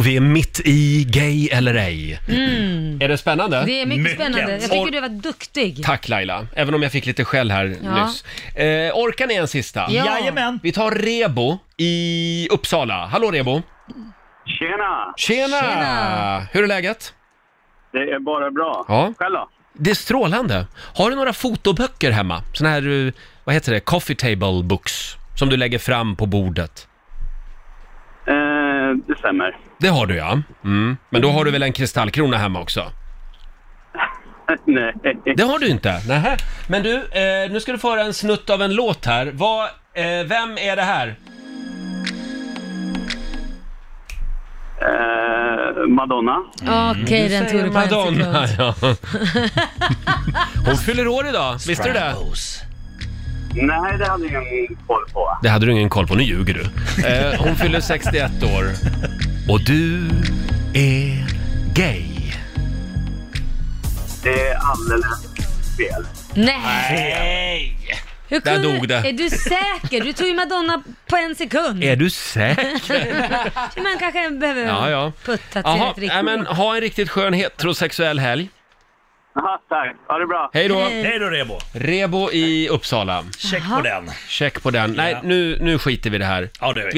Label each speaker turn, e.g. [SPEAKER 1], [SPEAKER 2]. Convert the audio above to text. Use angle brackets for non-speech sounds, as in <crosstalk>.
[SPEAKER 1] och vi är mitt i Gay eller ej.
[SPEAKER 2] Mm.
[SPEAKER 1] Är det spännande?
[SPEAKER 2] Det är mycket, spännande. Jag
[SPEAKER 1] Och-
[SPEAKER 2] tycker du var duktig.
[SPEAKER 1] Tack Laila, även om jag fick lite skäll här
[SPEAKER 2] Ja.
[SPEAKER 1] nyss. Eh, orkar ni en sista?
[SPEAKER 2] Ja.
[SPEAKER 3] Jajamän!
[SPEAKER 1] Vi tar Rebo i Uppsala. Hallå Rebo!
[SPEAKER 4] Tjena!
[SPEAKER 1] Tjena!
[SPEAKER 2] Tjena.
[SPEAKER 1] Hur är läget?
[SPEAKER 4] Det är bara bra.
[SPEAKER 1] Ja.
[SPEAKER 4] Själv då?
[SPEAKER 1] Det är strålande. Har du några fotoböcker hemma? Såna här, eh, vad heter det, coffee table books som du lägger fram på bordet?
[SPEAKER 4] Eh, det stämmer.
[SPEAKER 1] Det har du ja. Mm. Men då har du väl en kristallkrona hemma också?
[SPEAKER 4] Eh, Nej.
[SPEAKER 1] Det har du inte? Nähä. Men du, eh, nu ska du få höra en snutt av en låt här. Vad, eh, vem är det här?
[SPEAKER 4] Eh, Madonna.
[SPEAKER 2] Okej, den tog du på en
[SPEAKER 1] Mm. Madonna,
[SPEAKER 2] sekund.
[SPEAKER 1] <laughs> ja. Hon fyller år idag, visste du det?
[SPEAKER 4] Nej, det hade jag ingen koll på.
[SPEAKER 1] Det hade du ingen koll på, nu ljuger du. Eh, hon fyller 61
[SPEAKER 2] <laughs>
[SPEAKER 1] år. Och du är gay.
[SPEAKER 4] Det är alldeles fel.
[SPEAKER 2] Nej!
[SPEAKER 1] Nej!
[SPEAKER 2] Hur
[SPEAKER 1] Där
[SPEAKER 2] kunde-
[SPEAKER 1] dog det.
[SPEAKER 2] Är du säker? Du tog ju Madonna på en
[SPEAKER 1] <laughs>
[SPEAKER 2] sekund.
[SPEAKER 1] Är du säker?
[SPEAKER 2] Man kanske behöver
[SPEAKER 1] Ja, ja.
[SPEAKER 2] putta till
[SPEAKER 1] Jaha,
[SPEAKER 2] rätt riktning.
[SPEAKER 1] nej, men ha en riktigt skön heterosexuell helg.
[SPEAKER 4] Aha, tack. Ha det bra.
[SPEAKER 1] Hej då!
[SPEAKER 2] Hej.
[SPEAKER 3] Hej då Rebo!
[SPEAKER 1] Rebo i Uppsala.
[SPEAKER 3] Check på den.
[SPEAKER 1] Check på den. Nej,
[SPEAKER 3] Ja.
[SPEAKER 1] nu, nu skiter vi i det här.
[SPEAKER 3] Ja, det är vi.